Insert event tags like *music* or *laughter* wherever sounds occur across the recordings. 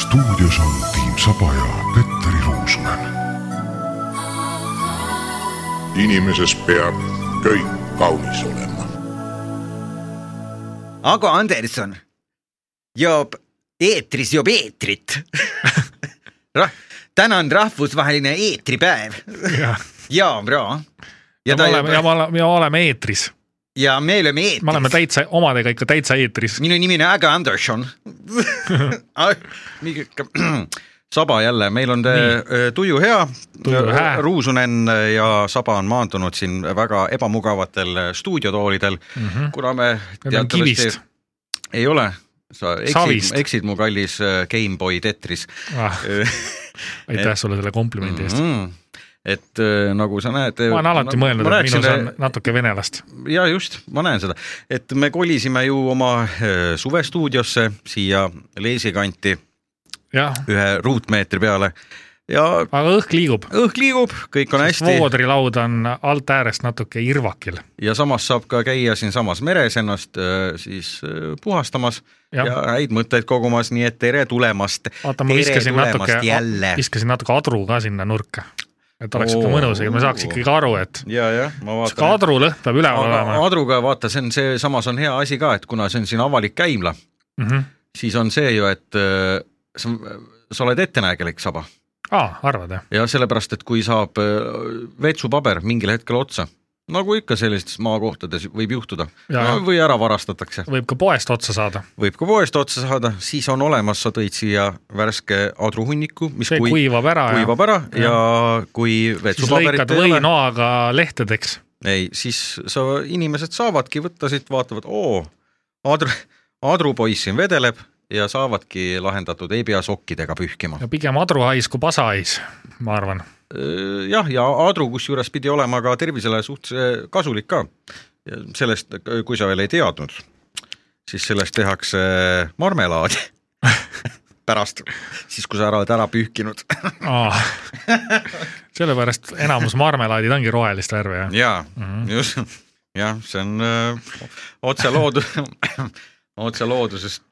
stuudios on Tiim Saba ja Petteri Ruusmann . inimeses peab kõik kaunis olema . Ago Anderson joob eetris , joob *laughs* eetrit Rah, . täna on rahvusvaheline eetripäev . ja, jaa , bro . ja, me oleme, ja me oleme , ja me oleme eetris , ja me oleme eetris . me oleme täitsa omadega ikka täitsa eetris . minu nimi on Ago *laughs* Anderson . *clears throat* saba jälle , meil on te- äh, tuju hea Äh, Tuju hää. , Ruusunen äh, ja Saba on maandunud siin väga ebamugavatel stuudiotoolidel mm , -hmm. kuna me Mhm. Need on kivist teatavasti ei ole , sa eksid Savist. , eksid mu kallis Gameboy *laughs* tetris ah, . aitäh sulle selle komplimendi eest . mm. . et äh, nagu sa näed . ma olen alati mõelnud , et minus on natuke venelast . ja just , ma näen seda , et me kolisime ju oma äh, suvestuudiosse siia Leesi kanti jah , ühe ruutmeetri peale ja aga õhk liigub . õhk liigub , kõik on hästi voodrilaud on alt äärest natuke irvakil . ja samas saab ka käia siinsamas meres ennast äh, siis äh, puhastamas ja, Jah. ja häid mõtteid kogumas , nii et tere tulemast . vaata , ma tere viskasin natuke tulemast , jälle . viskasin natuke adru ka sinna nurka . et oleks Oo. ikka mõnus , et ma saaks ikkagi aru , et ja , jah , ma sihuke vaatan . adrulõhn peab üleval aga olema . Adruga vaata , see on see , samas on hea asi ka , et kuna see on siin avalik käimla , Mhm. siis on see ju , et äh, sa, sa oled ettenägelik saba aa , arvad jah ? ja sellepärast , et kui saab äh, vetsupaber mingil hetkel otsa , nagu ikka sellistes maakohtades võib juhtuda Jaa. või ära varastatakse , võib ka poest otsa saada . võib ka poest otsa saada , siis on olemas , sa tõid siia värske adruhunniku , mis see kui, kui, kuivab ära ja kuivab ära ja, ja kui siis vetsupaberit lõikad ei ole , võinoaga lehtedeks . ei , siis sa , inimesed saavadki võtta siit , vaatavad , oo , adru , adrupoiss siin vedeleb ja saavadki lahendatud , ei pea sokkidega pühkima . ja pigem adruhais kui pasahais , ma arvan . Äh, jah , ja adru kusjuures pidi olema ka tervisele suht äh, kasulik ka . sellest , kui sa veel ei teadnud , siis sellest tehakse marmelaadi *laughs* pärast , siis kui sa ära oled ära pühkinud . *laughs* sellepärast enamus marmelaadid ongi rohelist värvi jah . jaa mm , -hmm. just , jah , see on öö, otse loodus , *laughs* otse loodusest ,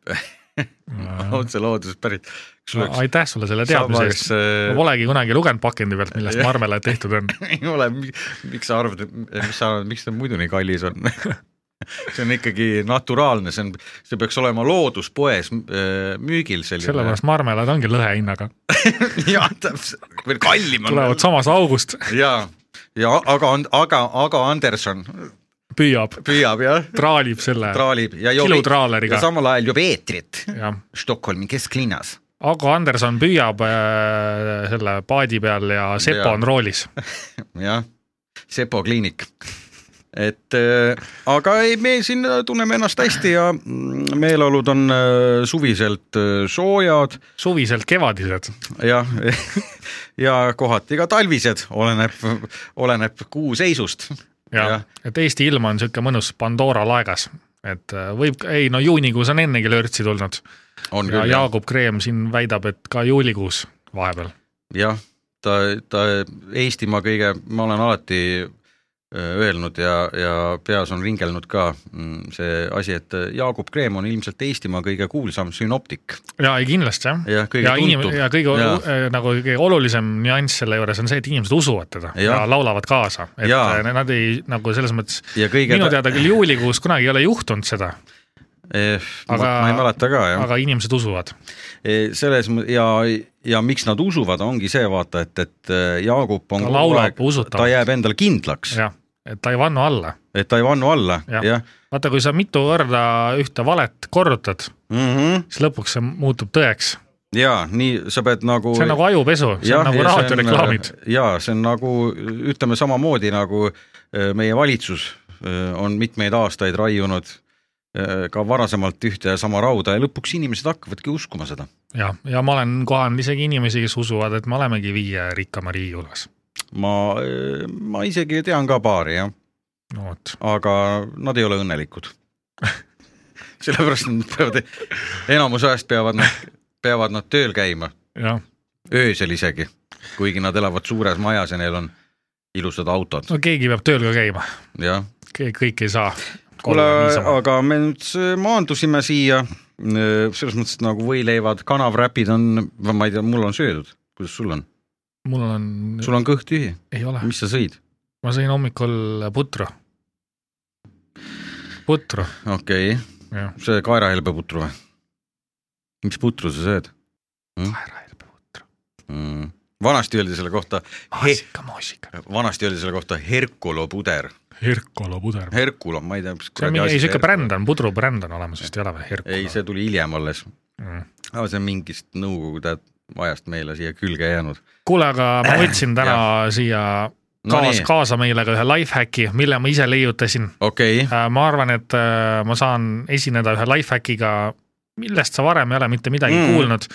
*laughs* otse loodusest pärit . kas oleks , aitäh sulle selle Samas, teadmise eest . äh, ma polegi kunagi lugenud pakendi pealt , millest marmelaad tehtud on . *laughs* ei ole , miks sa arvad , mis sa arvad , miks ta muidu nii kallis on ? *laughs* see on ikkagi naturaalne , see on , see peaks olema looduspoes öö, müügil selline . *laughs* sellepärast marmelaad ongi lõhehinnaga , jah , täpselt , veel kallim on . tulevad samast august , ja , ja aga , aga , aga Anderson püüab , püüab jah , traalib selle , traalib ja joob . Kilutraaleriga. ja samal ajal joob eetrit jah . Stockholmi kesklinnas . Ago Anderson püüab äh, selle paadi peal ja Sepo Jaa. on roolis . jah , Sepo kliinik . et äh, aga ei , me siin tunneme ennast hästi ja mm, meeleolud on äh, suviselt äh, soojad suviselt kevadised , ja *laughs* ja kohati ka talvised , oleneb , oleneb kuu seisust . jah Jah. , et Eesti ilm on niisugune mõnus Pandora laegas , et äh, võib , ei no juunikuus on ennegi lörtsi tulnud on ja küll jah , Jaagup Kreem siin väidab , et ka juulikuus vahepeal . jah , ta , ta Eestimaa kõige , ma olen alati äh, öelnud ja , ja peas on ringelnud ka mm, see asi , et Jaagup Kreem on ilmselt Eestimaa kõige kuulsam sünoptik jaa , ei kindlasti jah . ja kõige ja inim- tuntum . ja kõige Jaa. ja. nagu kõige olulisem nüanss selle juures on see , et inimesed usuvad teda ja, Jah. ja laulavad kaasa , et Jaa. ja. nad ei nagu selles mõttes ja kõige minu teada küll juulikuus kunagi ei ole juhtunud seda , Eh, ma, Aga- ma ei mäleta ka jah aga... , aga inimesed usuvad . selles mõ- ja , ja miks nad usuvad , ongi see vaata , et , et eh, Jaagup on Ta kogu laulab aeg- usutavalt. ta jääb endale kindlaks , jah , et ta ei vannu alla . et ta ei vannu alla , Jah. jah . vaata , kui sa mitu korda ühte valet korrutad , siis lõpuks see muutub tõeks . Mhm. ja nii sa pead nagu . see on nagu ajupesu , see on nagu raadioreklaamid .. ja see on nagu ütleme samamoodi nagu eh, meie valitsus eh, on mitmeid aastaid raiunud eh, ka varasemalt ühte ja sama rauda ja lõpuks inimesed hakkavadki uskuma seda . jah , ja ma olen kohanud isegi inimesi , kes usuvad , et me olemegi viie rikkama riigi hulgas . ma , ma isegi tean ka paari jah no vot , aga nad ei ole õnnelikud . *laughs* sellepärast et nad peavad , enamus ajast peavad nad , peavad nad tööl käima , jah . öösel isegi , kuigi nad elavad suures majas ja neil on ilusad autod , no keegi peab tööl ka käima , jah . kõik ei saa . kuule , aga me nüüd s- maandusime siia selles mõttes , et nagu võileivad , kanavräpid on , ma ei tea , mul on söödud , kuidas sul on ? mul on, sul on kõht tühi , ei ole , mis sa sõid ? ma sõin hommikul putru . putru , okei okay. , jah . see kaerahelbeputru või ? mis putru sa sööd kaerahelbeputru , mm. ? vanasti öeldi selle kohta , maasika , maasika . vanasti öeldi selle kohta Herkulo puder , Herkolo puder . Herkulo , ma ei tea , mis see on mingi , ei siuke bränd on , pudrubränd on olemas vist , ei ole või , Herkolo ? Mm. ei , see tuli hiljem alles , aga see on mingist Nõukogude ajast meile siia külge jäänud . kuule , aga ma võtsin täna siia Äh, no kaas, nii , kaasa meile ka ühe lifehacki , mille ma ise leiutasin . okei okay. , ma arvan , et äh, ma saan esineda ühe lifehackiga , millest sa varem ei ole mitte midagi Mm. mm. kuulnud ,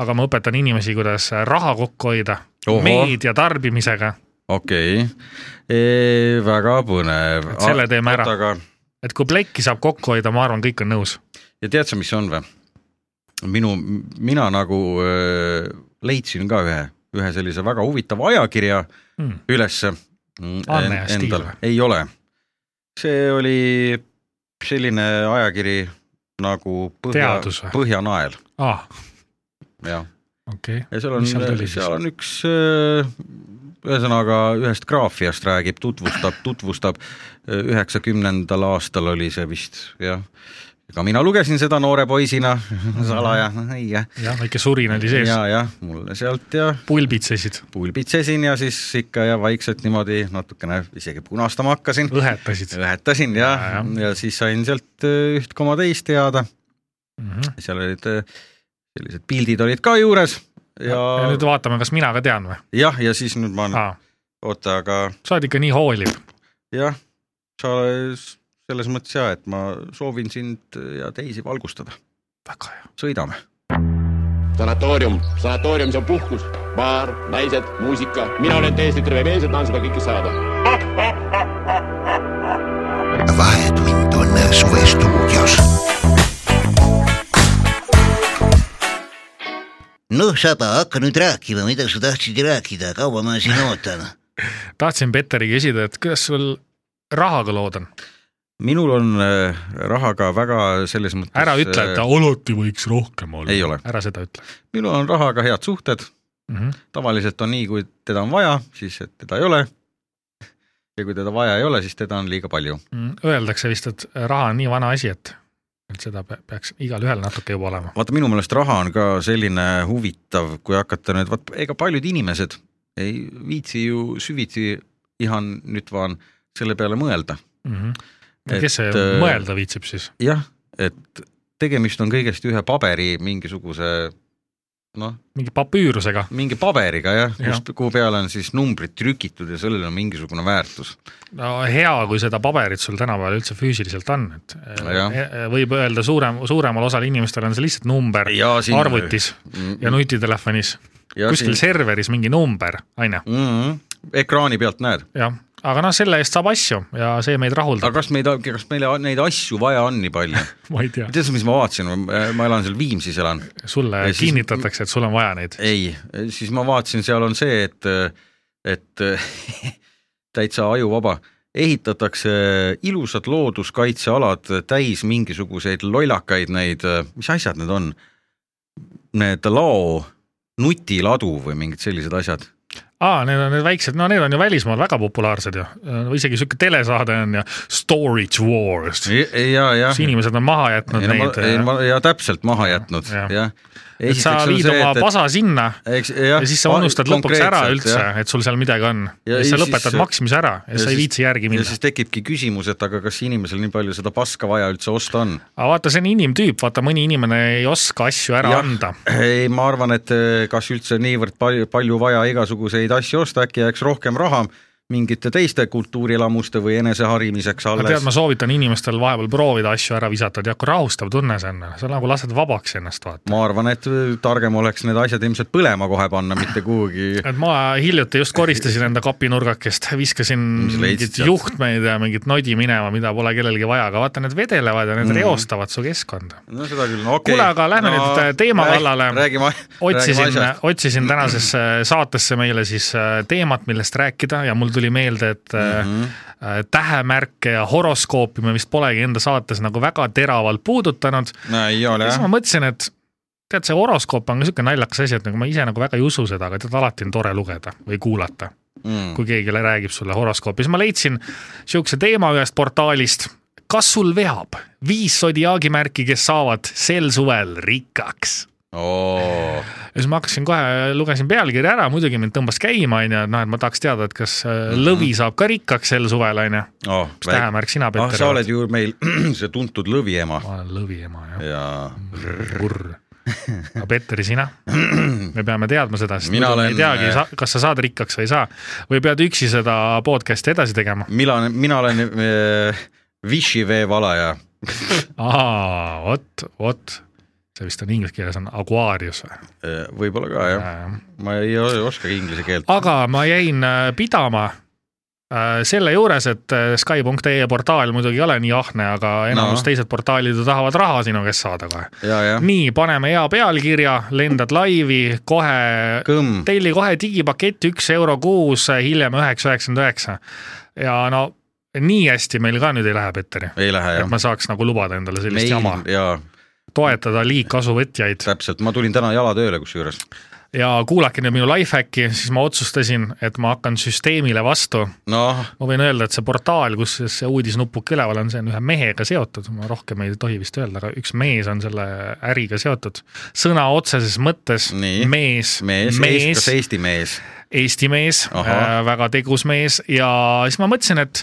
aga ma õpetan inimesi , kuidas raha kokku hoida Ohoh. meedia tarbimisega . okei okay. , väga põnev . Et selle teeme ära. aga et kui plekki saab kokku hoida , ma arvan , kõik on nõus . ja tead sa , mis on või ? minu , mina nagu öö, leidsin ka ühe , ühe sellise väga huvitava ajakirja Mm. ülesse . Anne ja Stiil või? ei ole . see oli selline ajakiri nagu Põhja Teadus või? , Põhjanael , aa , jah . Ah, okei okay. , ja seal on , Mis seal seal, tuli siis? seal on üks öö, ühesõnaga ühest graafiast räägib , tutvustab , tutvustab , üheksakümnendal aastal oli see vist jah , ka mina lugesin seda noore poisina *laughs* salaja , ei jah , jah , väike surin oli sees , ja , jah , mulle sealt ja pulbitsesid , pulbitsesin ja siis ikka ja vaikselt niimoodi natukene isegi punastama hakkasin , õhetasid lähetasin ja, Ja, ja , jah. ja siis sain sealt öö, üht koma teist teada , mm . -hmm. seal olid öö, sellised pildid olid ka juures Ja... ja ja nüüd Ah, vaatame , kas mina ka tean või ? jah , ja siis nüüd ma , aa , oota , aga sa oled ikka nii hooliv . jah , sa selles mõttes ja , et ma soovin sind äh, ja teisi valgustada , väga hea . sõidame . sanatoorium , sanatoorium , see on puhkus , baar , naised , muusika , mina olen täiesti terve mees ja tahan seda kõike saada vahetund on suvestuudios . noh , Saba , hakka nüüd rääkima , mida sa tahtsid rääkida , kaua ma siin ootan ? tahtsin Petteri küsida , et kuidas sul rahaga lood on ? minul on äh, rahaga väga selles mõttes äh, ära ütle , et ta alati võiks rohkem olla . ei ole. ära seda ütle äh, minul on rahaga head suhted , mm . -hmm. tavaliselt on nii , kui teda on vaja , siis et teda ei ole . ja kui teda vaja ei ole , siis teda on liiga palju . Mm, Öeldakse vist , et raha on nii vana asi , et , et seda pe- peaks igalühel natuke juba olema . vaata , minu meelest raha on ka selline huvitav , kui hakata nüüd , vaat ega paljud inimesed ei viitsi ju süvitsi ihan nüüd vaan selle peale mõelda . Mm -hmm. Et, kes see äh, mõelda viitsib siis ? jah , et tegemist on kõigest ühe paberi mingisuguse noh , mingi papüürusega mingi paberiga jah ja. , Jah. kus , kuhu peale on siis numbrid trükitud ja sellel on mingisugune väärtus . no, ? hea , kui seda paberit sul tänapäeval üldse füüsiliselt on , et Jah. eh, võib öelda , suurem , suuremal osal inimestel on see lihtsalt number Ja siin- Mm. arvutis ja nutitelefonis , kuskil see . serveris mingi number , on ju , Mm -hmm. ekraani pealt näed , jah . aga noh , selle eest saab asju ja see meid aga rahuldab , kas meid , kas meile on- neid asju vaja on nii *laughs* palju ? ma ei tea . tead sa , mis ma vaatasin , ma elan seal Viimsis elan , sulle Ja ja siis- kinnitatakse , et sul on vaja neid . ei , siis ma vaatasin , seal on see , et , et *laughs* täitsa ajuvaba , ehitatakse ilusad looduskaitsealad täis mingisuguseid lollakaid neid , mis asjad need on ? Need lao , nutiladu või mingid sellised asjad . aa , need on need väiksed , no need on ju välismaal väga populaarsed ju , isegi sihuke telesaade on ju , Storage Wars , ja , ja . kus inimesed on maha jätnud ei no ma , ei no neid . ma , ja täpselt maha jätnud , Jah. jah . et sa viid oma pasa sinna eks jah . ja siis sa unustad lõpuks ära üldse , et sul seal midagi on . Ja ja siis sa siis- lõpetad maksmise ära ja, ja sa ei siis- viitsi järgi ja minna siis . tekibki küsimus , et aga kas inimesel nii palju seda paska vaja üldse osta on ? aga vaata , see on inimtüüp , vaata mõni inimene ei oska asju ära ja. anda . ei , ma arvan , et eh, kas üldse niivõrd palju , palju vaja igasuguseid asju osta , äkki jääks rohkem raha mingite teiste kultuurielamuste või eneseharimiseks aga tead , alles ma . soovitan inimestel vahepeal proovida asju ära visata , tead kui rahustav tunne see on , sa nagu lased vabaks ennast , vaata . ma arvan , et eh, targem oleks need asjad ilmselt põlema kohe panna , mitte *laughs* kuhugi . et ma hiljuti just koristasin enda kapinurgakest , viskasin Mis leidsid mingeid sealt? juhtmeid ja mingit nodi minema , mida pole kellelgi vaja , aga vaata , need vedelevad ja need mm. reostavad su keskkonda . no seda küll , no okei okay. . Kuule, aga lähme nüüd, eh, teema kallale. räägime , räägime otsisin asjast ,. otsisin tänasesse saatesse meile siis äh, teemat , millest rääkida ja mul tuli meelde , et mm Mhm. -hmm. tähemärke ja horoskoopi me vist polegi enda saates nagu väga teravalt puudutanud . no ei ole ja siis ma jah , mõtlesin , et tead , see horoskoop on ka niisugune naljakas asi , et nagu ma ise nagu väga ei usu seda , aga tead , alati on tore lugeda või kuulata mm. . kui keegi räägib sulle horoskoopi , siis ma leidsin niisuguse teema ühest portaalist . kas sul veab viis sodiaagimärki , kes saavad sel suvel rikkaks ? Oh. ja siis ma hakkasin kohe , lugesin pealkirja ära , muidugi mind tõmbas käima , onju , et noh , et ma tahaks teada , et kas äh, Mhm. lõvi saab ka rikkaks sel suvel , onju . oh, mis tähemärk sina , ah , Peeter sa ? oled ju meil *clears throat* see tuntud lõviema ma olen lõvi ema , jah . ja kurr . aga Peeteri , sina ? me peame teadma seda , sest Mina muidu me ei olen- äh, teagi , kas sa saad rikkaks või ei saa . või pead üksi seda podcast'i edasi tegema . mina , mina olen äh, Vichy veevalaja , aa , vot , vot . see vist on inglise keeles on Aguarius või ? Eh, võib-olla ka jah , ma ei o- oskagi inglise keelt . aga ma jäin äh, pidama äh, selle juures , et äh, Sky.ee portaal muidugi ei ole nii ahne , aga enamus No. no. teised portaalid ju tahavad raha sinu käest saada kohe . ja , ja nii , paneme hea pealkirja , lendad laivi kohe , kõmm , telli kohe digipakett üks euro kuus , hiljem üheksa , üheksakümmend üheksa . ja no nii hästi meil ka nüüd ei lähe , Petteri . ei lähe et jah . ma saaks nagu lubada endale sellist Meil... jama , jaa , toetada liigkasuvõtjaid täpselt , ma tulin täna jalatööle kusjuures . ja kuulake nüüd minu lifehacki , siis ma otsustasin , et ma hakkan süsteemile vastu . noh , ma võin öelda , et see portaal , kus see uudisnupuke üleval on , see on ühe mehega seotud , ma rohkem ei tohi vist öelda , aga üks mees on selle äriga seotud . sõna otseses mõttes Nii. mees, mees, mees. , kas mees , Eesti mees ? Eesti mees , Ahah. väga tegus mees ja siis ma mõtlesin , et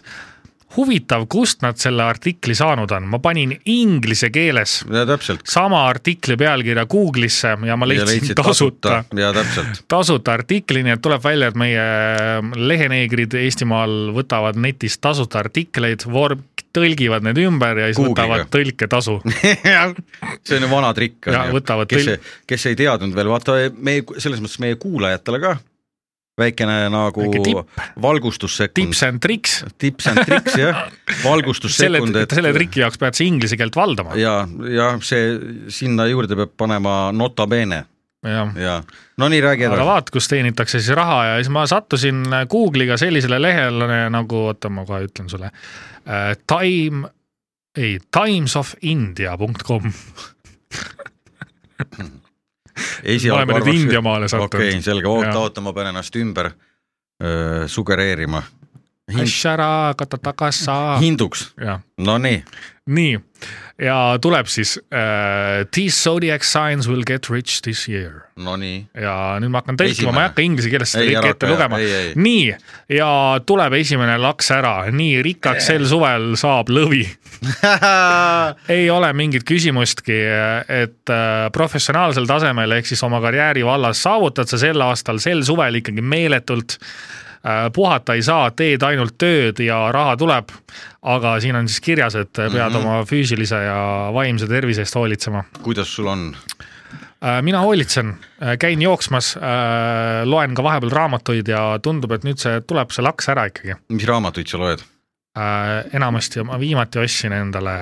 huvitav , kust nad selle artikli saanud on , ma panin inglise keeles ja täpselt . sama artikli pealkirja Google'isse ja ma leidsin, ja leidsin tasuta, tasuta ja *laughs* täpselt , tasuta artikli , nii et tuleb välja , et meie ähm, leheneegrid Eestimaal võtavad netist tasuta artikleid , vorm , tõlgivad need ümber ja siis Google'iga. Google'iga. võtavad tõlketasu . *laughs* see on ju vana trikk . Ja võtavad kes tõl- , kes ei teadnud veel , vaata meie , selles mõttes meie kuulajatele ka väikene nagu Väike tipp. valgustussekund Tips . and tricks , tips and tricks jah , selle , valgustussekund , et selle triki jaoks pead sa inglise keelt valdama . ja , ja see sinna juurde peab panema nota bene jah ja no nii , räägi aga edasi . vaat , kus teenitakse siis raha ja siis ma sattusin Google'iga sellisele lehele nagu , oota , ma kohe ütlen sulle , time , ei , timesofindia.com . oleme nüüd Indiamaale sattunud. okei okay, , selge , oota , Jah. oota , ma pean ennast ümber öö, sugereerima . Ashara katatakasa . hinduks , jah , no nii , nii ja tuleb siis uh, These zodiac signs will get rich this year no nii , ja nüüd ma hakkan tõlkima , ma Esimene. ei hakka inglise keeles seda Ei, ära kõike ette hakka, lugema ei, ei. . nii ja tuleb esimene laks ära , nii rikkaks sel suvel saab *laughs* lõvi ei ole mingit küsimustki , et äh, professionaalsel tasemel ehk siis oma karjääri vallas saavutad sa sel aastal , sel suvel ikkagi meeletult . puhata ei saa , teed ainult tööd ja raha tuleb . aga siin on siis kirjas , et pead Mhm. mm -hmm. oma füüsilise ja vaimse tervise eest hoolitsema . kuidas sul on ? Äh, mina hoolitsen , käin jooksmas , loen ka vahepeal raamatuid ja tundub , et nüüd see tuleb see laks ära ikkagi . mis raamatuid sa loed ? äh, enamasti ma viimati ostsin endale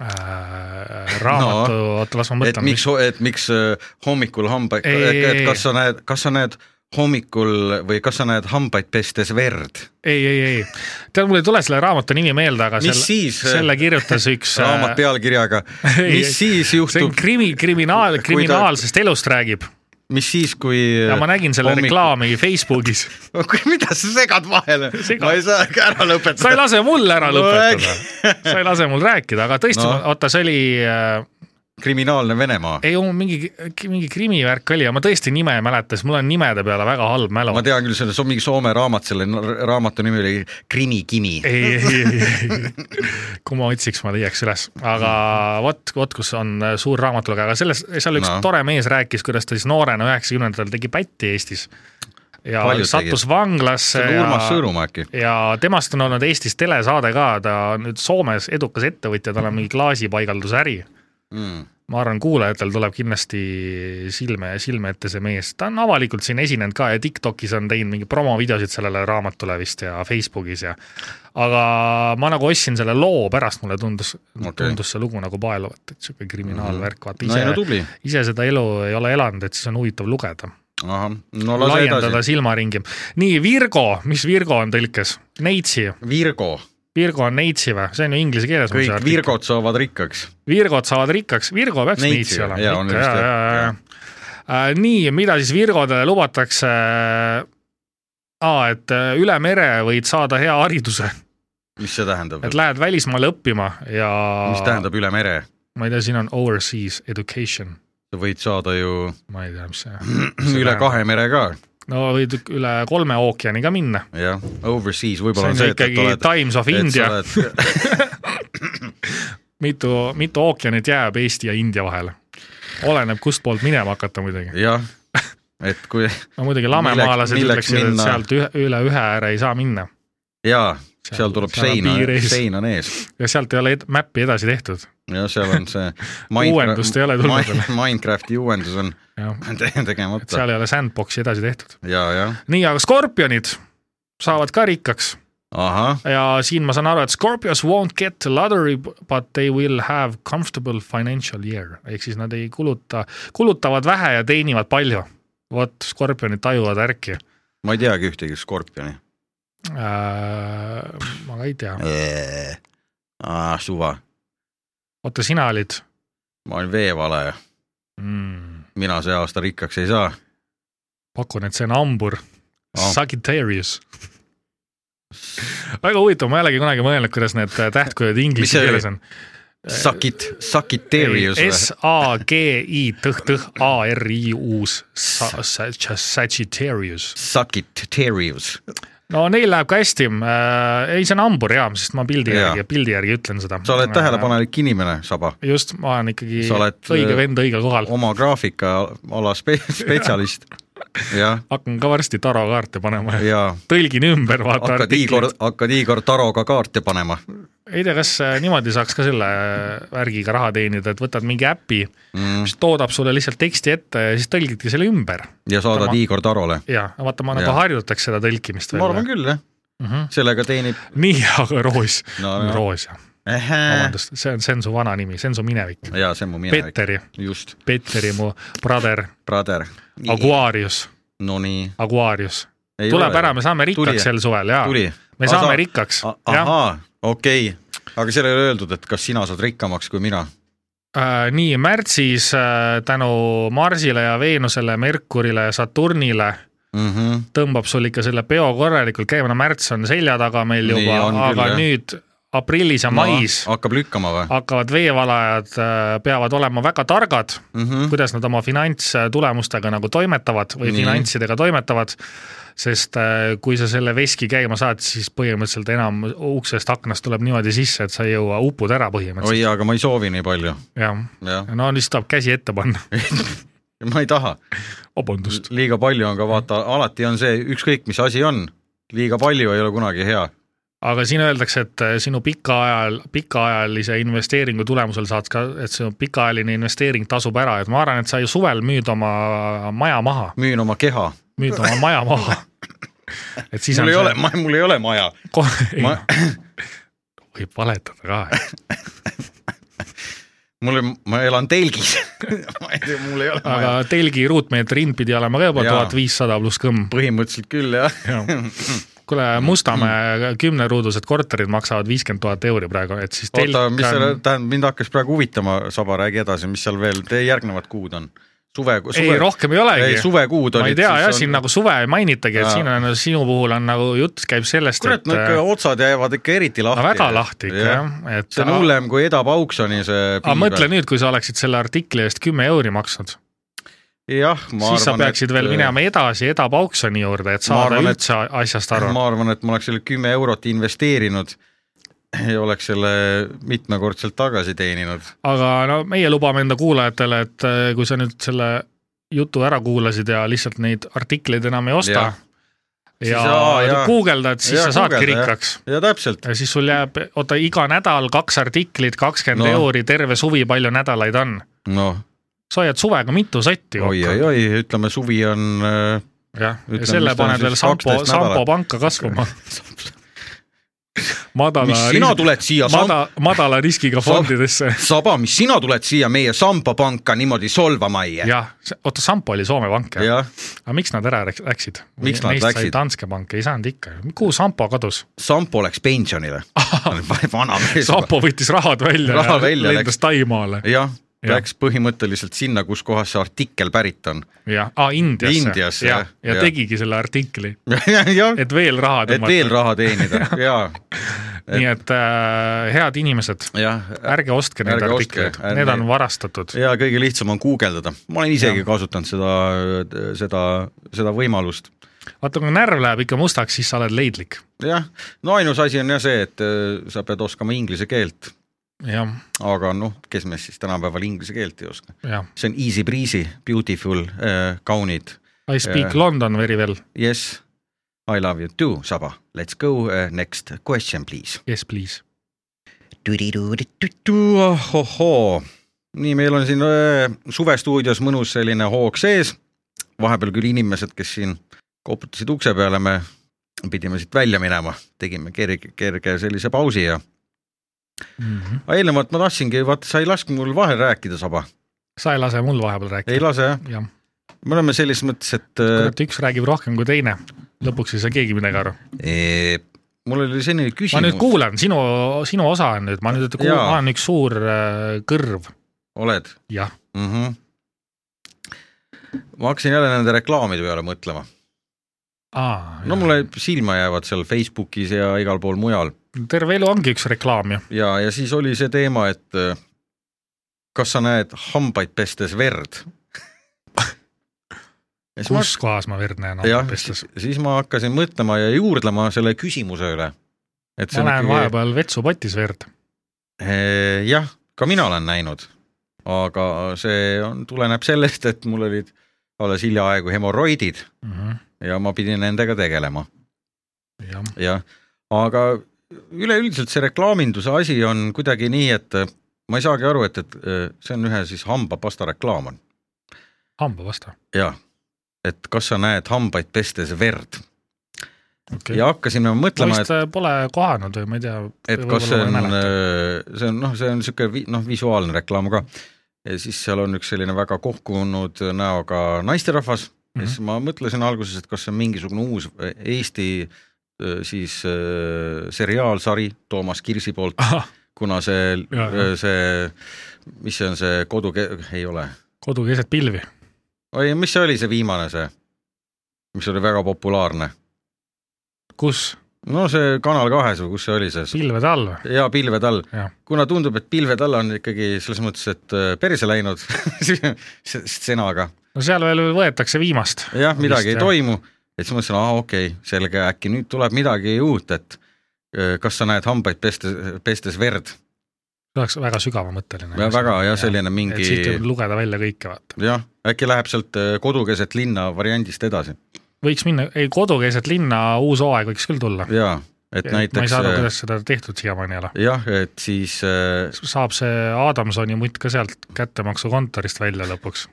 äh, raamatu no, , oota las ma et mõtlen , miks , et miks öö, hommikul hambaid , Ei, ei, et ei. kas sa näed , kas sa näed hommikul või kas sa näed hambaid pestes verd ? ei , ei , ei , tead , mul ei tule selle raamatu nimi meelde , aga Mis selle, siis? äh, selle kirjutas üks raamat pealkirjaga , Äh. Ei, ei. mis siis see on juhtub , krimi , kriminaal , Kui ta- kriminaalsest elust räägib mis siis , kui . ja ma nägin selle hommik... . *laughs* reklaami Facebookis . mida sa segad vahele Sega. , ma ei saa ära sa ei lõpetada . lase mul ära No lõpetada , sa ei lase mul rääkida , aga tõesti No. no. , oota , see oli äh, kriminaalne Venemaa , ei , mingi , mingi krimivärk oli ja ma tõesti nime ei mäleta , sest mul on nimede peale väga halb mälu ma . tean küll , selles on mingi Soome raamat , selle n- raamatu nimi oli Krimikini . ei , ei , ei , ei , kui ma otsiks , ma leiaks üles , aga vot , vot kus on suur raamatulugeja , aga selles , seal üks No. no. tore mees rääkis , kuidas ta siis noorena üheksakümnendatel tegi pätti Eestis . ja Palju Palju tegi? sattus tegi. see vanglasse on Urmas ja , Sõõrumaa äkki , ja temast on olnud Eestis telesaade ka , ta on nüüd Soomes edukas ettevõtja , tal on mingi klaasipaigaldusäri Mm. ma arvan , kuulajatel tuleb kindlasti silme , silme ette see mees , ta on avalikult siin esinenud ka ja Tiktokis on teinud mingi promovideosid sellele raamatule vist ja Facebookis ja aga ma nagu ostsin selle loo pärast , mulle tundus okay. , tundus see lugu nagu paeluvat , et sihuke kriminaalvärk , vaata Mhm. no ei no ise , tubli , ise seda elu ei ole elanud , et siis on huvitav lugeda . ahah , no lase laiendada edasi . silmaringi . nii , Virgo , mis Virgo on tõlkes ? Neitsi , Virgo , Virgo on neitsi või ? see on ju inglise keeles . kõik . Virgod saavad rikkaks . Virgod saavad rikkaks , Virgo peaks Neitsi neitsi või? olema . Jaa, on vist, jah. Äh, nii , mida siis Virgodele lubatakse ? Aa, et äh, üle mere võid saada hea hariduse , mis see tähendab et ? lähed välismaale õppima ja mis tähendab üle mere ? ma ei tea , siin on overseas education , sa võid saada ju ma ei tea , mis see üle tähendab? kahe mere ka , no võid üle kolme ookeani ka minna . jah , overseas see võib-olla on on ju see , et , et ikkagi oled, Times of India , oled... *laughs* mitu , mitu ookeanit jääb Eesti ja India vahele ? oleneb , kustpoolt minema hakata muidugi . jah , et kui no muidugi lamemaalased milleks ütleksid , et minna? sealt ühe, üle ühe ääre ei saa minna jaa , seal tuleb Seal on seina piir , ees. sein on ees ja sealt ei ole ed- mäppi edasi tehtud . jah , seal on see *laughs* Uuendust ei ole tulnud veel. *laughs* Minecrafti uuendus on *laughs* te- tegemata seal ei ole sandbox'i edasi tehtud . ja , jah , nii , aga skorpionid saavad ka rikkaks ahah , ja siin ma saan aru , et Scorpios won't get lottery , but they will have comfortable financial year ehk siis nad ei kuluta , kulutavad vähe ja teenivad palju . vot skorpionid tajuvad ärki ma ei teagi ühtegi skorpioni . äh, . Äh, ma ka ei tea , Ah, suva , oota , sina olid ma olen veevalaja , mm, ? mina see aasta rikkaks ei saa . pakun , et see on hambur Ah. oh. , Sagittarius väga huvitav , ma ei olegi kunagi mõelnud , kuidas need äh, tähtkujud Mis see inglise oli? keeles on . Sakit , Sakiterius või ? S A G I tõh tõh A R I uus sa- sa- Sagittarius . Sakiterius , no neil läheb ka hästi , ei see on hambur jaa , sest ma pildi Jaa. järgi , pildi järgi ütlen seda . sa oled . tähelepanelik inimene , Saba , just , ma olen ikkagi Sa oled, õige äh, vend õigel kohal , oma graafika ala *laughs* spe- , spetsialist . jah , hakkan ka varsti tarokaarte panema ja ja tõlgin ümber , vaata hakkad Igor artiklit ., hakkad Igor Taroga kaarte panema ei tea , kas äh, niimoodi saaks ka selle äh, värgiga raha teenida , et võtad mingi äpi , mm. mis toodab sulle lihtsalt teksti ette ja siis tõlgidki selle ümber ja saadad Tama. Igor Tarole . ja vaata , ma Jaa. nagu harjutaks seda tõlkimist ma arvan veel . küll , jah mm Mhm. -hmm. . sellega teenib nii , aga Roos No, no. Roos jah , vabandust , see on Sensu vana nimi , Sensu minevik . jaa , see on mu minevik . Petteri , just , Petteri mu brother , brother . Aguarius , Nonii . Aguarius . tuleb ära , me saame Tuli. rikkaks sel suvel ja Tuli. me Ah, saame sa- rikkaks , jah . ahaa , okei okay. , aga seal ei ole öeldud , et kas sina saad rikkamaks kui mina . Äh, nii märtsis äh, tänu Marsile ja Veenusele , Merkurile ja Saturnile Mm -hmm. tõmbab sul ikka selle peo korralikult käima , no märts on selja taga meil Nii juba on , küll, aga jah. nüüd aprillis ja mais hakkab lükkama või ? hakkavad veevalajad , peavad olema väga targad Mm -hmm. kuidas nad oma finantstulemustega nagu toimetavad või Nii. finantsidega toimetavad . sest äh, kui sa selle veski käima saad , siis põhimõtteliselt enam uksest aknast tuleb niimoodi sisse , et sa ei jõua , upud ära põhimõtteliselt . oi , aga ma ei soovi nii palju , jah , jah . no nüüd tuleb käsi ette *laughs* panna . ma ei taha , vabandust . liiga palju on ka vaata , alati on see , ükskõik mis asi on , liiga palju ei ole kunagi hea . aga siin öeldakse , et äh, sinu pika ajal , pikaajalise investeeringu tulemusel saad ka , et sinu pikaajaline investeering tasub ära , et ma arvan , et sa ju suvel müüd oma maja maha , müün oma keha . müüd oma maja maha . et siis mul ei see- ole , mul ei ole maja . *laughs* kohe Ma- ma... , võib valetada *laughs* ka , mul , ma elan *laughs* telgis . mul ei ole aga maja . telgi ruutmeetri hind pidi olema ka juba Jaa. tuhat viissada pluss kõmm . põhimõtteliselt küll jah . *laughs* kuule , Mustamäe kümneruudused korterid maksavad viiskümmend tuhat euri praegu , et siis telk oota , mis seal on ,, tähendab , mind hakkas praegu huvitama , Saba , räägi edasi , mis seal veel te järgnevad kuud on ? suve , suve . ei rohkem ei ei , olegi . suvekuud olid . ma ei tea jah , siin nagu suve ei mainitagi , et Jaa. siin on sinu puhul on nagu jutt käib sellest , kurat , et äh, no ikka otsad jäävad ikka eriti no lahti . väga lahti ikka jah , et see on hullem kui Eda Pauksoni see aga mõtle . nüüd , kui sa oleksid selle artikli eest kümme euri maksnud , jah , siis ma arvan , et . sa peaksid veel minema edasi Eda Pauksoni juurde , et saada arvan, et- üldse asjast aru . ma arvan , et ma oleks selle kümme eurot investeerinud ja oleks selle mitmekordselt tagasi teeninud . aga no meie lubame enda kuulajatele , et äh, kui sa nüüd selle jutu ära kuulasid ja lihtsalt neid artikleid enam ei osta Jah. ja, Siis- ja, aa, ja jaa. guugeldad , siis ja, Jaa, sa saadki guugelda, jah. rikkaks . ja täpselt , ja siis sul jääb , oota , iga nädal kaks artiklit , kakskümmend No. no. euri , terve suvi , palju nädalaid on ? noh , sa hoiad suvega mitu sotti kokku . oi-oi-oi , ütleme suvi on äh, jah , ja Ütleme, selle mis ta on paned siis, veel *laughs* sampo , kaksteist nädalat. sampo panka kasvama . madala . Mis sina tuled siia sam- madala , madala riskiga fondidesse . saba , mis sina tuled siia meie sambapanka niimoodi solvama ei jää . jah , oota , Sampo oli Soome pank , jah ? jah , aga miks nad ära läks- läksid ? Miks nad läksid? Danske pank , ei saanud ikka . kuhu Sampo *laughs* kadus ? *laughs* sampo läks pensionile . vana mees . Ah. Sampo võttis rahad välja Raha ja välja lendas läks. Taimaale . jah , Jah. läks põhimõtteliselt sinna , kus kohas see artikkel pärit on . *laughs* jah , aa Indiasse . Indiasse, ja, jah, ja, ja jah. tegigi selle artikli , jah , et veel raha et veel . raha *laughs* teenida ja , nii et äh, head inimesed , jah . ärge ostke neid Ärge ostke, artikleid , ärge- need on varastatud . ja kõige lihtsam on guugeldada , ma olen isegi Jah. ja. kasutanud seda , seda , seda võimalust . vaata , kui närv läheb ikka mustaks , siis sa oled leidlik . jah , no ainus asi on jah see , et äh, sa pead oskama inglise keelt , jah , aga noh , kes meist siis tänapäeval inglise keelt ei oska . jah . see on easy breezy , beautiful äh, , kaunid , I speak Ja- London very well , yes , I love you too , saba , let's go uh, next question please . yes please . ahhohoo , nii , meil on siin öö, suvestuudios mõnus selline hoog sees , vahepeal küll inimesed , kes siin koputasid ukse peale , me pidime siit välja minema , tegime kerge , kerge sellise pausi ja aga eelnevalt ma tahtsingi , vaata , sa ei lasknud mul vahel rääkida , Saba . sa ei lase mul vahepeal rääkida ei . lase , jah ? jah , me oleme selles mõttes , et äh, öö, kurat , üks räägib rohkem kui teine , lõpuks ei saa keegi midagi aru . ee, mul oli selline ma nüüd küsimus , kuulan , sinu , sinu osa on nüüd , ma nüüd kuulan , Jaa. ma olen üks suur äh, kõrv , oled jah . mm ? -hmm. ma hakkasin jälle nende reklaamide peale mõtlema . no mulle silma jäävad seal Facebookis ja igal pool mujal terve elu ongi üks reklaam ju , ja , ja siis oli see teema , et äh, kas sa näed hambaid pestes verd ? *laughs* kus kohas ma verd näen jah hambaid , pestes . siis ma hakkasin mõtlema ja juurdlema selle küsimuse üle . et ma näen vahepeal vetsupotis verd . Eh, jah , ka mina olen näinud , aga see on , tuleneb sellest , et mul olid alles hiljaaegu hemoroidid ja ma pidin nendega tegelema , Mhm. jah , jah . aga üleüldiselt see reklaaminduse asi on kuidagi nii , et eh, ma ei saagi aru , et , et eh, see on ühe siis hambapasta reklaam on , hambapasta , jah . et kas sa näed hambaid pestes verd okei ja hakkasin ma ma mõtlema , vist et , äh, pole kohanud või ma ei tea . et kas see on , *laughs* see on noh , see on niisugune noh , visuaalne reklaam ka . ja siis seal on üks selline väga kohkunud näoga naisterahvas mm , -hmm. siis Mhm. ma mõtlesin alguses , et kas see on mingisugune uus e, Eesti öö, siis öö, seriaalsari Toomas Kirsi poolt , kuna see Ah. e, Jaa, jaa. , see , mis see on , see kodu , ei ole , kodu keset pilvi , oi , mis see oli , see viimane see , mis oli väga populaarne , kus , no see Kanal kahes või kus see oli see ? pilvede all või ? ja pilved all Jah. , kuna tundub , et pilved all on ikkagi selles mõttes , et äh, perse läinud *laughs* stsenaga , no seal veel võetakse viimast . jah , midagi Vist, ei jah. toimu . et siis mõtlesin , aa okei okay, , selge , äkki nüüd tuleb midagi uut , et äh, kas sa näed hambaid pestes , pestes verd , see oleks väga sügavamõtteline . väga ja selline et siit mingi võib lugeda välja kõike , vaata . jah , äkki läheb sealt äh, kodukeset linna variandist edasi võiks minna , ei kodukeset linna uus hooaeg võiks küll tulla . ja et ma ei näiteks saa aru , äh, kuidas seda tehtud siiamaani ei ole . jah , et siis äh, saab see Adamsoni mutt ka sealt kättemaksukontorist välja lõpuks ?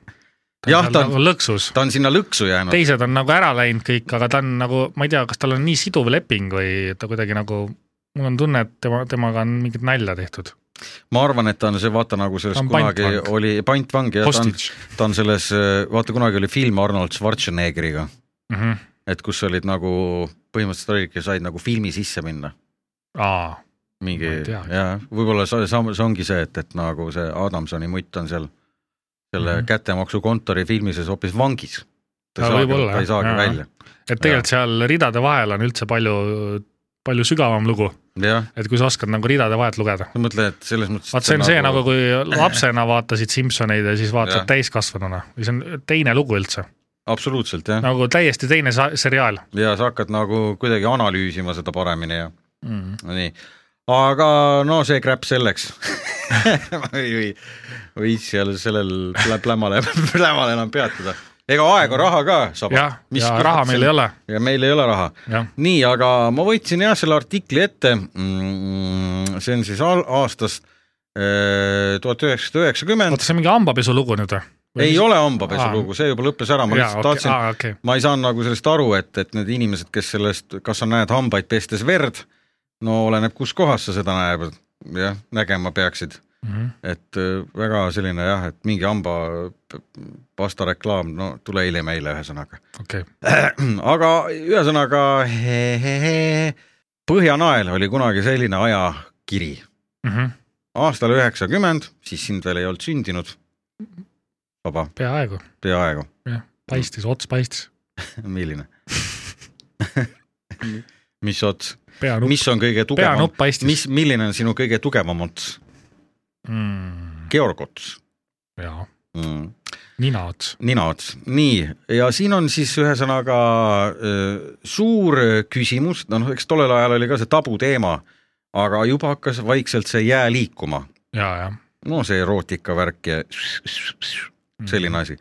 Jah, ta on- lõksus . ta on sinna lõksu jäänud , teised on nagu ära läinud kõik , aga ta on nagu , ma ei tea , kas tal on nii siduv leping või ta kuidagi nagu , mul on tunne , et tema , temaga on mingit nalja tehtud . ma arvan , et ta on see , vaata nagu selles Ta on kunagi pantvang. oli pantvang ja ta on Hostage ta on selles , vaata kunagi oli film Arnold Schwarzeneggeriga , mm . -hmm. et kus olid nagu põhimõtteliselt olidki , said nagu filmi sisse minna . aa , mingi Ma ei tea. ja võib-olla see , see ongi see , et , et nagu see Adamsoni mutt on seal selle mm Mhm. -hmm. kättemaksukontori filmi sees hoopis vangis . ta Aa, ei saagi , võib-olla, ta ei jah. saagi Jaa. välja . et tegelikult seal ridade vahel on üldse palju , palju sügavam lugu , jah , et kui sa oskad nagu ridade vahelt lugeda . ma mõtlen , et selles mõttes . vaat see on see nagu , *clears throat* kui lapsena vaatasid Simsoneid ja siis vaatad Jah. täiskasvanuna või see on teine lugu üldse , absoluutselt jah , nagu täiesti teine sa- seriaal ja sa hakkad nagu kuidagi analüüsima seda paremini ja mm. . no nii , aga no see crap selleks *laughs* või , või , või seal sellel plä- plämale , plämal enam peatuda . ega aeg on raha ka , Saba jah , ja raha meil ei . ole , ja meil ei ole raha . jah . nii , aga ma võtsin jah selle artikli ette mm, , see on siis al- aastast äh, tuhat üheksasada oota , üheksakümmend , see on mingi hambapesulu lugu nüüd või ? ei ole hambapessu Aa. lugu , see juba lõppes ära , ma jaa , lihtsalt okei , tahtsin aa , okei . ma ei saanud nagu sellest aru , et , et need inimesed , kes sellest , kas sa näed hambaid pestes verd , no oleneb , kus kohas sa seda näeb , jah , nägema peaksid mm . Mhm. -hmm. et äh, väga selline jah , et mingi hambapasta reklaam , no tule hiljem eile , ühesõnaga . *clears throat* okei okay. , aga ühesõnaga , Põhjanael oli kunagi selline ajakiri , mm -hmm. aastal üheksakümmend , siis sind veel ei olnud sündinud . vaba , peaaegu , peaaegu , jah , paistis , ots paistis , milline ? mis ots , peanupp , mis on kõige tugevam peanupp , paistis . mis , milline on sinu kõige tugevam ots ? mm, ? Georg ots jaa , mm. . ninaots , ninaots , nii , ja siin on siis ühesõnaga öö, suur küsimus , noh , eks tollel ajal oli ka see tabuteema , aga juba hakkas vaikselt see jää liikuma , jaa , jah . no see erootika värk ja selline . asi .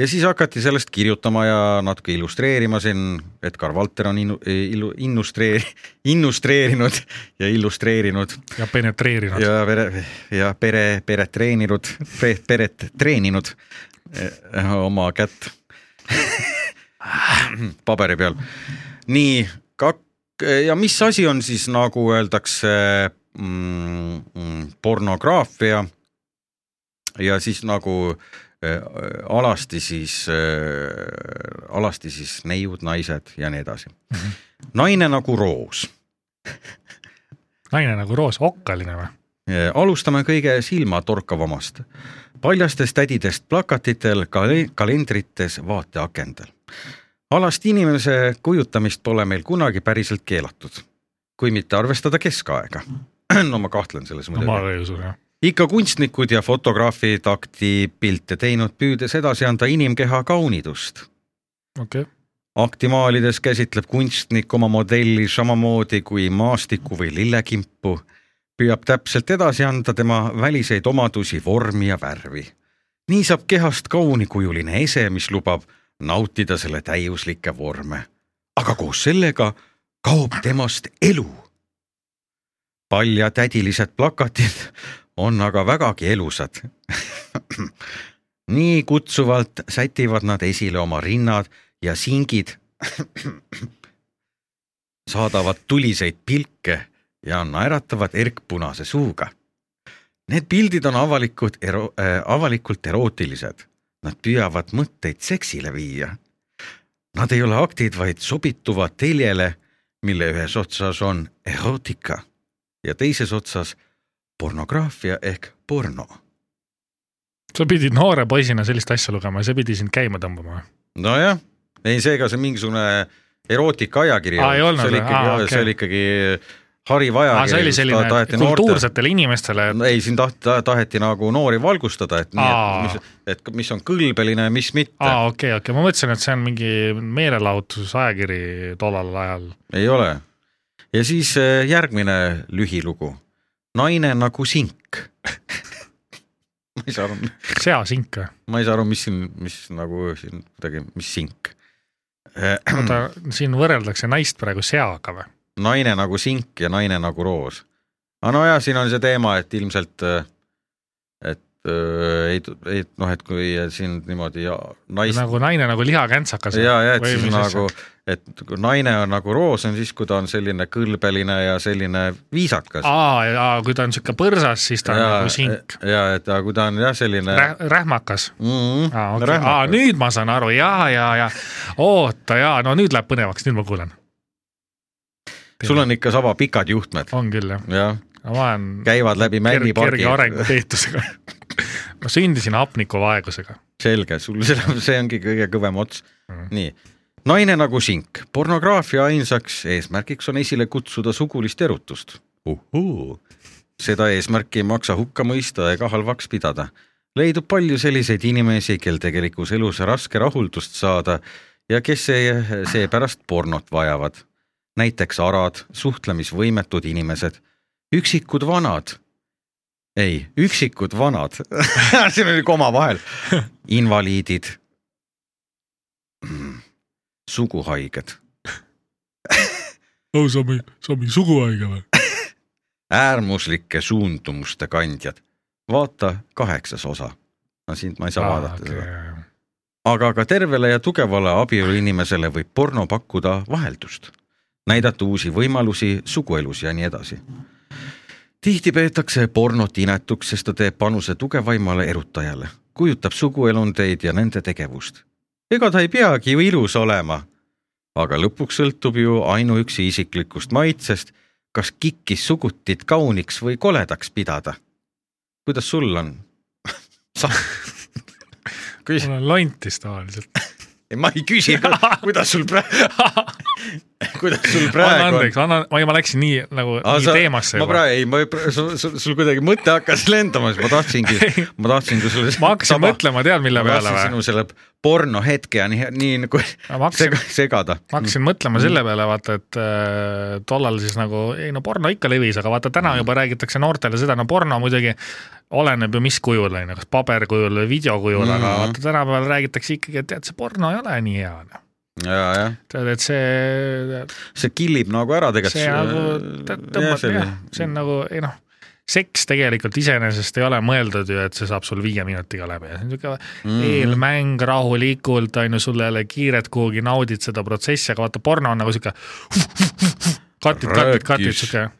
ja siis hakati sellest kirjutama ja natuke illustreerima siin , Edgar Valter on innu- , illu- , innustreer- , *laughs* innustreerinud ja illustreerinud ja penetreerinud ja. ja pere , ja pere , peret treeninud , peret treeninud eh, oma kätt *laughs* paberi peal . nii , kak- , ja mis asi on siis nagu öeldakse mm, mm, pornograafia ja siis nagu eh, alasti siis , alasti siis neiud , naised ja nii edasi . naine nagu roos naine nagu roos , okkaline või ? Eh, alustame kõige silmatorkavamast . paljastest tädidest plakatitel , kalendrites , vaateakendel . alast inimese kujutamist pole meil kunagi päriselt keelatud , kui mitte arvestada keskaega . *clears throat* no ma kahtlen selles no ma muidugi . ei usu , jah . ikka kunstnikud ja fotograafid akti pilte teinud , püüdes edasi anda inimkeha kaunidust okei okay. , aktimaalides käsitleb kunstnik oma modelli samamoodi kui maastiku või lillekimpu , püüab täpselt edasi anda tema väliseid omadusi , vormi ja värvi . nii saab kehast kaunikujuline ese , mis lubab nautida selle täiuslikke vorme . aga koos sellega kaob temast elu . paljatädilised plakatid on aga vägagi elusad . nii kutsuvalt sätivad nad esile oma rinnad ja singid saadavad tuliseid pilke ja naeratavad Erk punase suuga . Need pildid on avalikud ero- äh, , avalikult erootilised . Nad püüavad mõtteid seksile viia . Nad ei ole aktid , vaid sobituvad teljele , mille ühes otsas on erootika ja teises otsas pornograafia ehk porno . sa pidid noore poisina sellist asja lugema ja see pidi sind käima tõmbama või ? nojah , ei seega see mingisugune erootika ajakiri Aa, ei olnud see oli või? ikkagi Aa, , okei. see oli ikkagi äh, hariv aa , see oli ajakiri , selline kultuursetele inimestele No ei , siin tahti , taheti nagu noori valgustada , et nii, Aa. et mis , et mis on kõlbeline ja mis mitte aa , okei , okei , ma mõtlesin , et see on mingi meelelahutusajakiri tollal ajal . ei ole . ja siis eh, järgmine lühilugu , naine nagu sink . *laughs* ma ei saa aru , seasink *clears throat* või ? ma ei saa aru , mis siin , mis nagu siin kuidagi , mis sink . Äh, oota , siin võrreldakse naist praegu seaga või ? naine nagu sink ja naine nagu roos . aga nojah , siin on see teema , et ilmselt , et äh, ei , ei noh , et kui siin niimoodi ja, naist nagu, nagu naine nagu lihakäntsakas või? ja , ja et Või siis mis asja? nagu , et kui naine on nagu roos , on siis , kui ta on selline kõlbeline ja selline viisakas . aa , aa , kui ta on sihuke põrsas , siis ta on ja nagu sink ,. ja et aga kui ta on jah , selline Rä- , rähmakas . mm, aa , okei , aa nüüd ma saan aru ja , ja , ja oota ja no nüüd läheb põnevaks , nüüd ma kuulen . sul on ikka saba pikad juhtmed , on küll jah , jah , ma olen käivad läbi kerge, männipargi kerge . arengupeetusega . ma sündisin hapnikuvaegusega . selge , sul *laughs* see , see ongi kõige kõvem ots Mhm. mm. . nii , naine nagu sink , pornograafia ainsaks eesmärgiks on esile kutsuda sugulist erutust . seda eesmärki ei maksa hukka mõista ega halvaks pidada . leidub palju selliseid inimesi , kel tegelikus elus raske rahuldust saada ja kes see , seepärast pornot vajavad . näiteks arad , suhtlemisvõimetud inimesed , üksikud vanad , ei , üksikud vanad , *laughs* siin oli koma vahel , invaliidid , suguhaiged , oh , sa oled , sa oled mingi suguhaige või ? äärmuslike suundumuste kandjad . vaata kaheksas osa . no siin ma ei saa vaadata okay. seda . aga ka tervele ja tugevale abieluinimesele võib porno pakkuda vaheldust . näidata uusi võimalusi suguelus ja nii edasi . tihti peetakse pornot inetuks , sest ta teeb panuse tugevaimale erutajale , kujutab suguelundeid ja nende tegevust . ega ta ei peagi ju ilus olema . aga lõpuks sõltub ju ainuüksi isiklikust maitsest , kas kikkis sugutit kauniks või koledaks pidada . kuidas sul on ? *laughs* küsi , mul on lontis tavaliselt . *laughs* ma ei küsi , kuidas sul praegu , kuidas sul anna praegu on ? andeks , anna , ma , ma läksin nii nagu Aa, nii sa- teemasse ma juba . praegu ei , ma ei pra- , sul, sul, sul kuidagi mõte hakkas lendama , siis ma *laughs* tahtsingi , ma tahtsingi sulle . ma hakkasin sama. mõtlema , tead mille peale või ? sinu selle porno hetke ja nii , nii nagu ma hakkasin sega, , segada . ma hakkasin mõtlema selle peale , vaata , et äh, tollal siis nagu , ei no porno ikka levis , aga vaata täna juba räägitakse noortele seda , no porno muidugi oleneb ju mis kujul , on ju , kas paberkujul või videokujul mm , -hmm. aga Mhm. vaata tänapäeval räägitakse ikkagi , et tead , see porno ei ole nii hea . ja , jah , tead , et see , Mm. see killib nagu ära see nagu tegelikult . tä- tõmbab , jah , see on nagu , ei noh , seks tegelikult iseenesest ei ole mõeldud ju , et see saab sul viie minutiga läbi , see on niisugune Mhm. mm. eelmäng rahulikult , on ju , sul ei ole kiiret kuhugi , naudid seda protsessi , aga vaata porno on nagu niisugune katid , katid , katid , Rääkis. niisugune ,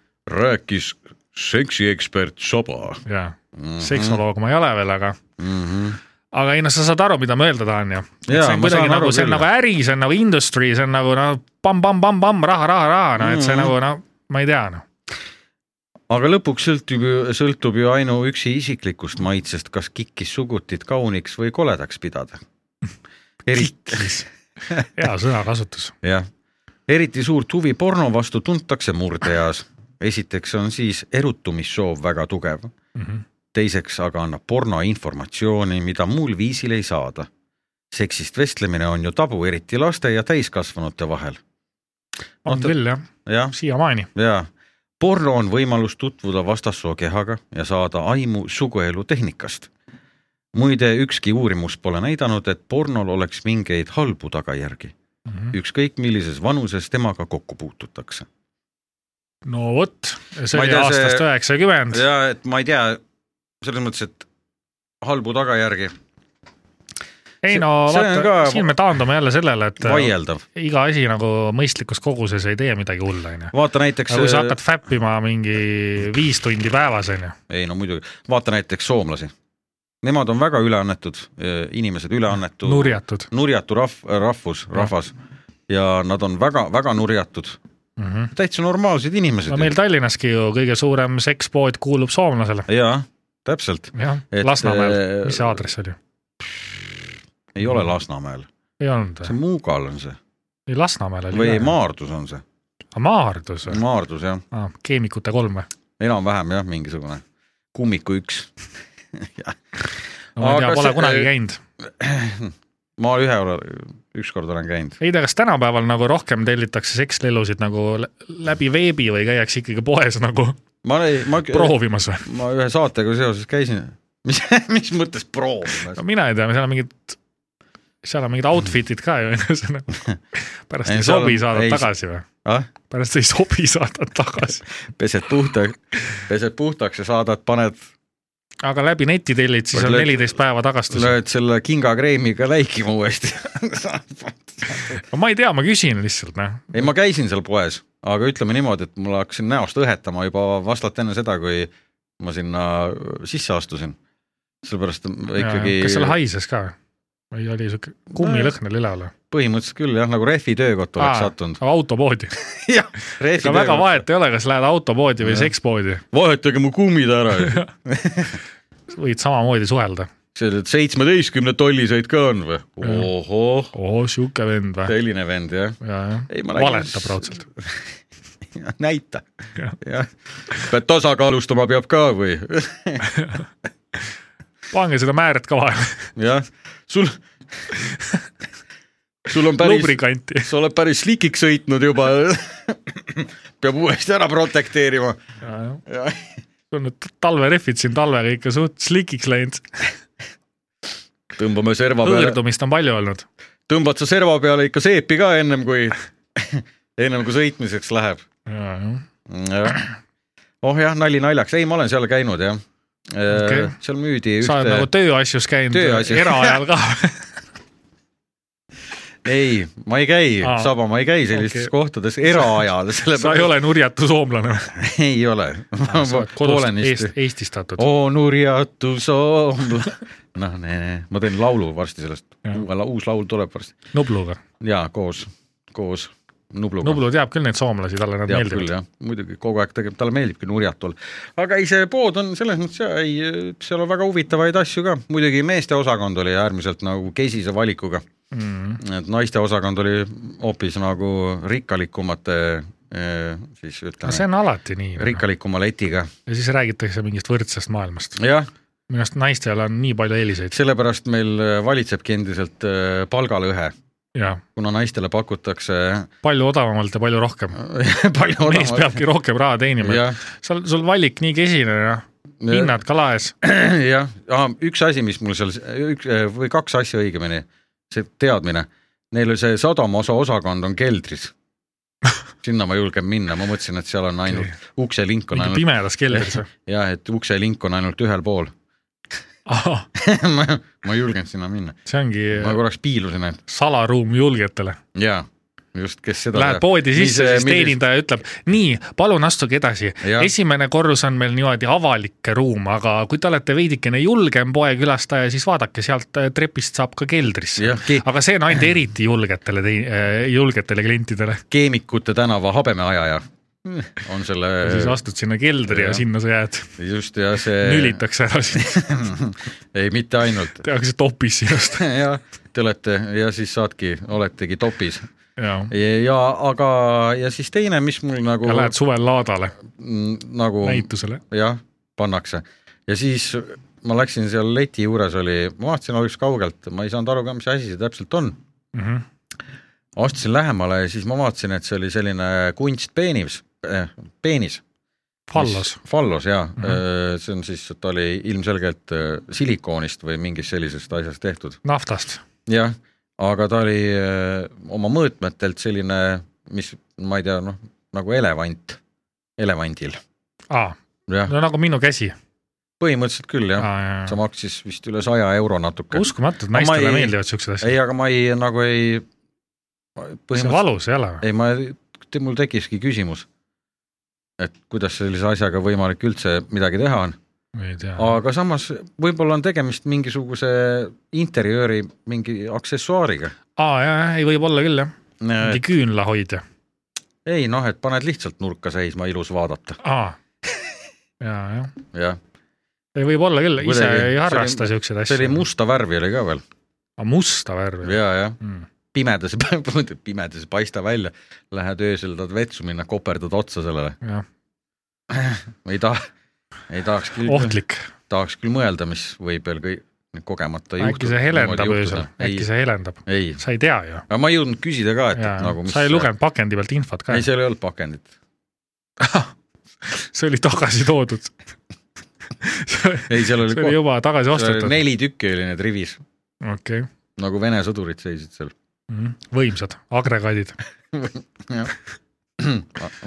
rääkis seksiekspert Saba . jaa , Mhm. seksoloog ma ei ole veel , aga mm . -hmm. aga ei noh , sa saad aru , mida ma öelda tahan ju . Jaa, see on ma kuidagi saan nagu aru , see on küll. nagu äri , see on nagu industry , see on nagu noh , pamm-pamm-pamm-pamm , raha , raha , raha , noh , et see Mhm. nagu noh , ma ei tea , noh . aga lõpuks sõltub ju , sõltub ju ainuüksi isiklikust maitsest , kas kikkis sugutit kauniks või koledaks pidada . eriti , hea sõnakasutus . *laughs* jah , eriti suurt huvi porno vastu tuntakse murdeeas . esiteks on siis erutumissoov väga tugev Mm -hmm. teiseks aga annab porno informatsiooni , mida muul viisil ei saada . seksist vestlemine on ju tabu , eriti laste ja täiskasvanute vahel . on Oota- küll jah , jah , siiamaani . ja porno on võimalus tutvuda vastassoo kehaga ja saada aimu suguelu tehnikast . muide , ükski uurimus pole näidanud , et pornol oleks mingeid halbu tagajärgi , ükskõik millises vanuses temaga kokku puututakse . no vot , see Ma ei oli tea, aastast see- üheksakümmend , ja et ma ei tea , selles mõttes , et halbu tagajärgi , ei see- no see on vaata ka- , siin me taandume jälle sellele , et vaieldav . iga asi nagu mõistlikus koguses ei tee midagi hullu , onju . vaata näiteks aga kui sa hakkad fäppima mingi viis tundi päevas , onju , äh, ei no muidugi , vaata näiteks soomlasi . Nemad on väga üleannetud eh, inimesed , üleannetu , nurjatud nurjatu rahv- , rahvus , rahvas ja nad on väga-väga nurjatud , mm . -hmm. täitsa normaalsed inimesed no meil . Tallinnaski ju kõige suurem sekspood kuulub soomlasele . jaa , täpselt , jah , Et, Lasnamäel , äh, mis see aadress oli ? ei ole Lasnamäel , ei olnud see või ? Muugal on see ei Lasnamäel oli või ka. Maardus on see , Aa, Maardus või ? Maardus jah , Keemikute kolm või ? enam-vähem jah , mingisugune kummiku üks . no ma ei Aga tea , pole see- kunagi käinud . ma ühe , ükskord olen käinud . ei tea , kas tänapäeval nagu rohkem tellitakse sekslelusid nagu lä- läbi veebi või käiakse ikkagi poes nagu ma ei , ma , proovimas või ? ma ühe saatega seoses käisin , *laughs* mis , mis mõttes proovimas ? no mina ei tea , seal on mingid , seal on mingid outfit'id ka ju , *laughs* ühesõnaga . pärast Mhm. Ei, ei seal on- sobi saada ei, tagasi või ? ah ? pärast ei sobi *laughs* saada tagasi . pesed puhtaks , pesed puhtaks ja saadad , paned , aga läbi neti tellid , siis on Lööd- neliteist päeva tagastus . lööd selle kingakreemiga läikima uuesti . *laughs* ma ei tea , ma küsin lihtsalt , noh . ei , ma käisin seal poes , aga ütleme niimoodi , et mul hakkasin näost õhetama juba vastalt enne seda , kui ma sinna sisse astusin . sellepärast ma ikkagi kas seal haises ka või ? või oli siuke kummilõhn oli üleval või ? põhimõtteliselt küll jah , nagu rehvi töökott oleks sattunud . *laughs* autopoodi . jah , rehvi ega väga . vahet ei ole , kas lähed autopoodi või Jah. sekspoodi , vahetage mu kummid *laughs* ära . võid samamoodi suhelda . selle seitsmeteistkümne tolliseid ka on või ? ohoh , oo , sihuke vend või ? selline vend jah . Ei, ma nägin- valetab raudselt . näita Jah. . jah , pead tasakaalustama peab ka või ? *laughs* pange seda määret ka vahele , jah , *laughs* sul , sul on *laughs* päris , lubrikanti . sa oled päris slikiks sõitnud juba . peab uuesti ära protekteerima . sul on need talverehvid siin talvega ikka suht slikiks läinud , tõmbame serva peale , hõõrdumist on palju olnud . tõmbad sa serva peale ikka seepi ka ennem kui , ennem kui sõitmiseks läheb . oh jah , nali naljaks , ei , ma olen seal käinud jah Okei. okay. . seal müüdi sa oled ühte *laughs* nagu tööasjus käinud Tööasjus. eraajal ka ? ei , ma ei käi Aa. , Saba , ma ei käi sellistes okay. Okei. kohtades eraajal , sa ei sellepärast ole nurjatu *laughs* soomlane või ? ei ole . sa oled kodust eest, eestistatud . oo Oh, nurjatu soomla , *laughs* noh , ma teen laulu varsti sellest , uus laul tuleb varsti Nubluga . ja koos , koos Nubluga . Nublu teab küll neid soomlasi , talle nad teab küll meeldivad . jah , muidugi kogu aeg tegelikult talle meeldibki nurjatu olla . aga ei , see pood on selles mõttes ja ei , seal on väga huvitavaid asju ka , muidugi meeste osakond oli äärmiselt nagu kesise valikuga mm. . et naiste osakond oli hoopis nagu rikkalikumate eh, siis no see ütleme , on alati nii . rikkalikuma letiga , ja siis räägitakse mingist võrdsest maailmast . jah , minu arust naistel on nii palju eeliseid . sellepärast meil valitsebki endiselt eh, palgalõhe , jah , kuna naistele pakutakse *laughs* palju odavamalt ja palju rohkem . palju mees peabki rohkem raha teenima . jah , seal , sul valik nii kesine ja hinnad kala ees . *clears throat* jah , üks asi , mis mul seal , üks või kaks asja õigemini , see teadmine , neil oli see sadamaosa osakond on *laughs* keldris . sinna ma julgen minna , ma mõtlesin , et seal on ainult ukselink on mingi ainult pimedas keldris noh. või ? jah , et ukselink on ainult ühel pool . *laughs* ahah , ma ma ei julgenud sinna minna , see ongi ma korraks piilusin , et salaruum julgetele . jaa , just , kes seda Lähed poodi sisse , siis . teenindaja ütleb , nii , palun astuge edasi Jah. . esimene korrus on meil niimoodi avalik ruum , aga kui te olete veidikene julgem poekülastaja , siis vaadake sealt äh, trepist saab ka keldrisse Jah, ki- . aga see on ainult eriti julgetele , julgetele klientidele . keemikute tänava habemeajaja on selle siis astud sinna keldri Äh, jah. ja Äh. sinna sa jääd , just ja see nülitakse ära *laughs* sind , *laughs* ei , mitte ainult , tehakse topis sinust . jah , te olete ja siis saadki , oletegi topis ja ja aga , ja siis teine , mis mul nagu ja lähed suvel laadale m, nagu näitusele . jah , pannakse ja siis ma läksin seal leti juures oli , ma vaatasin alguses kaugelt , ma ei saanud aru ka , mis asi see täpselt on . Mhm. astusin lähemale ja siis ma vaatasin , et see oli selline kunstpeenis eh, , peenis . Fallos .. Mhm. Fallos jaa mm , -hmm. see on siis , ta oli ilmselgelt eh, silikoonist või mingist sellisest asjast tehtud . naftast . jah , aga ta oli öö, oma mõõtmetelt selline , mis ma ei tea , noh nagu elevant , elevandil , aa , jah , no Ah. nagu minu käsi . põhimõtteliselt küll jah , see maksis vist üle saja euro natuke . uskumatu , et Ma naistele ei- meeldivad siuksed asjad . ei , aga ma ei nagu ei . see valus ei ole või ? ei , ma , mul tekkiski küsimus , et kuidas sellise asjaga võimalik üldse midagi teha on , ei tea . aga samas võib-olla on tegemist mingisuguse interjööri mingi aksessuaariga . aa jaa , jaa , ei võib-olla küll jah , mingi küünlahoidja . ei noh , et paned lihtsalt nurka seisma , ilus vaadata , *laughs* aa , jaa , jah , jah . ei võib-olla küll , ise Kuidagi- ei see harrasta oli- siukseid see oli asju . musta värvi oli ka veel . musta värvi . ja , jah , Mm. pimedas , *laughs* pimedas ei paista välja , lähed öösel tahad vetsu minna , koperdad otsa sellele , jah , ei taha , ei tahaks küll , ohtlik , tahaks küll mõelda , mis võib veel kõik kogemata äkki see helendab öösel , ei äkki , see helendab , ei , sa ei tea ju . aga ma ei jõudnud küsida ka , et , et nagu Nagu, sa ei lugenud pakendi pealt infot ka ei ,, seal ei olnud pakendit , see oli tagasi toodud . see ei seal oli oli kohe , juba tagasi ostetud , neli tükki oli need rivis , okei , nagu Vene sõdurid seisid seal , *clears throat* võimsad agregaadid ,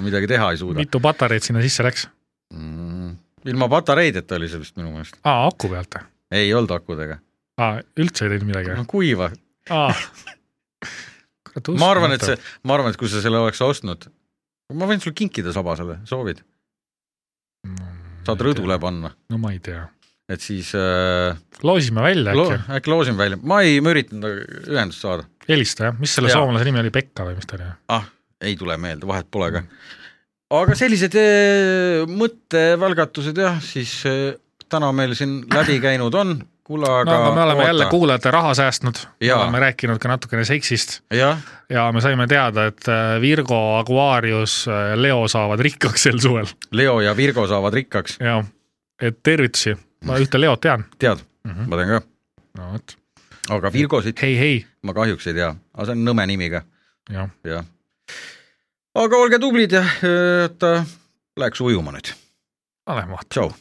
midagi teha ei suuda . mitu patareid sinna sisse läks ? ilma patareideta oli see vist minu meelest , aa , aku pealt , ei olnud akudega , aa , üldse ei teinud midagi või ? no kuiva aa . ma arvan , et see , ma arvan , et kui sa selle oleks ostnud , ma võin sulle kinkida saba selle , soovid , Mm, saad rõdule panna , no ma ei tea , et siis äh, loosime välja lo- äkki , äkki loosin välja , ma ei ma üritan temaga ühendust saada , helista jah , mis selle Jaa. soomlase nimi oli , Pekka või mis ta oli ? ah , ei tule meelde , vahet pole Mm. ka . aga sellised äh, mõttevälgatused jah , siis äh, täna meil siin läbi käinud on , kuule no aga aga me oleme oota. jälle kuulajate raha säästnud , Jaa. oleme rääkinud ka natukene seksist jah , ja me saime teada , et äh, Virgo , Aquarius , Leo saavad rikkaks sel suvel Leo ja Virgo saavad rikkaks , ja et tervitusi , ma ühte Leot tean , tead mm , Mhm. -hmm. ma tean ka , no vot , aga Virgosid hei , hei , ma kahjuks ei tea , aga see on nõme nimi ka jah , jah . aga olge tublid ja öö, oota , äh, läheks ujuma nüüd , oleme vaata . tšau .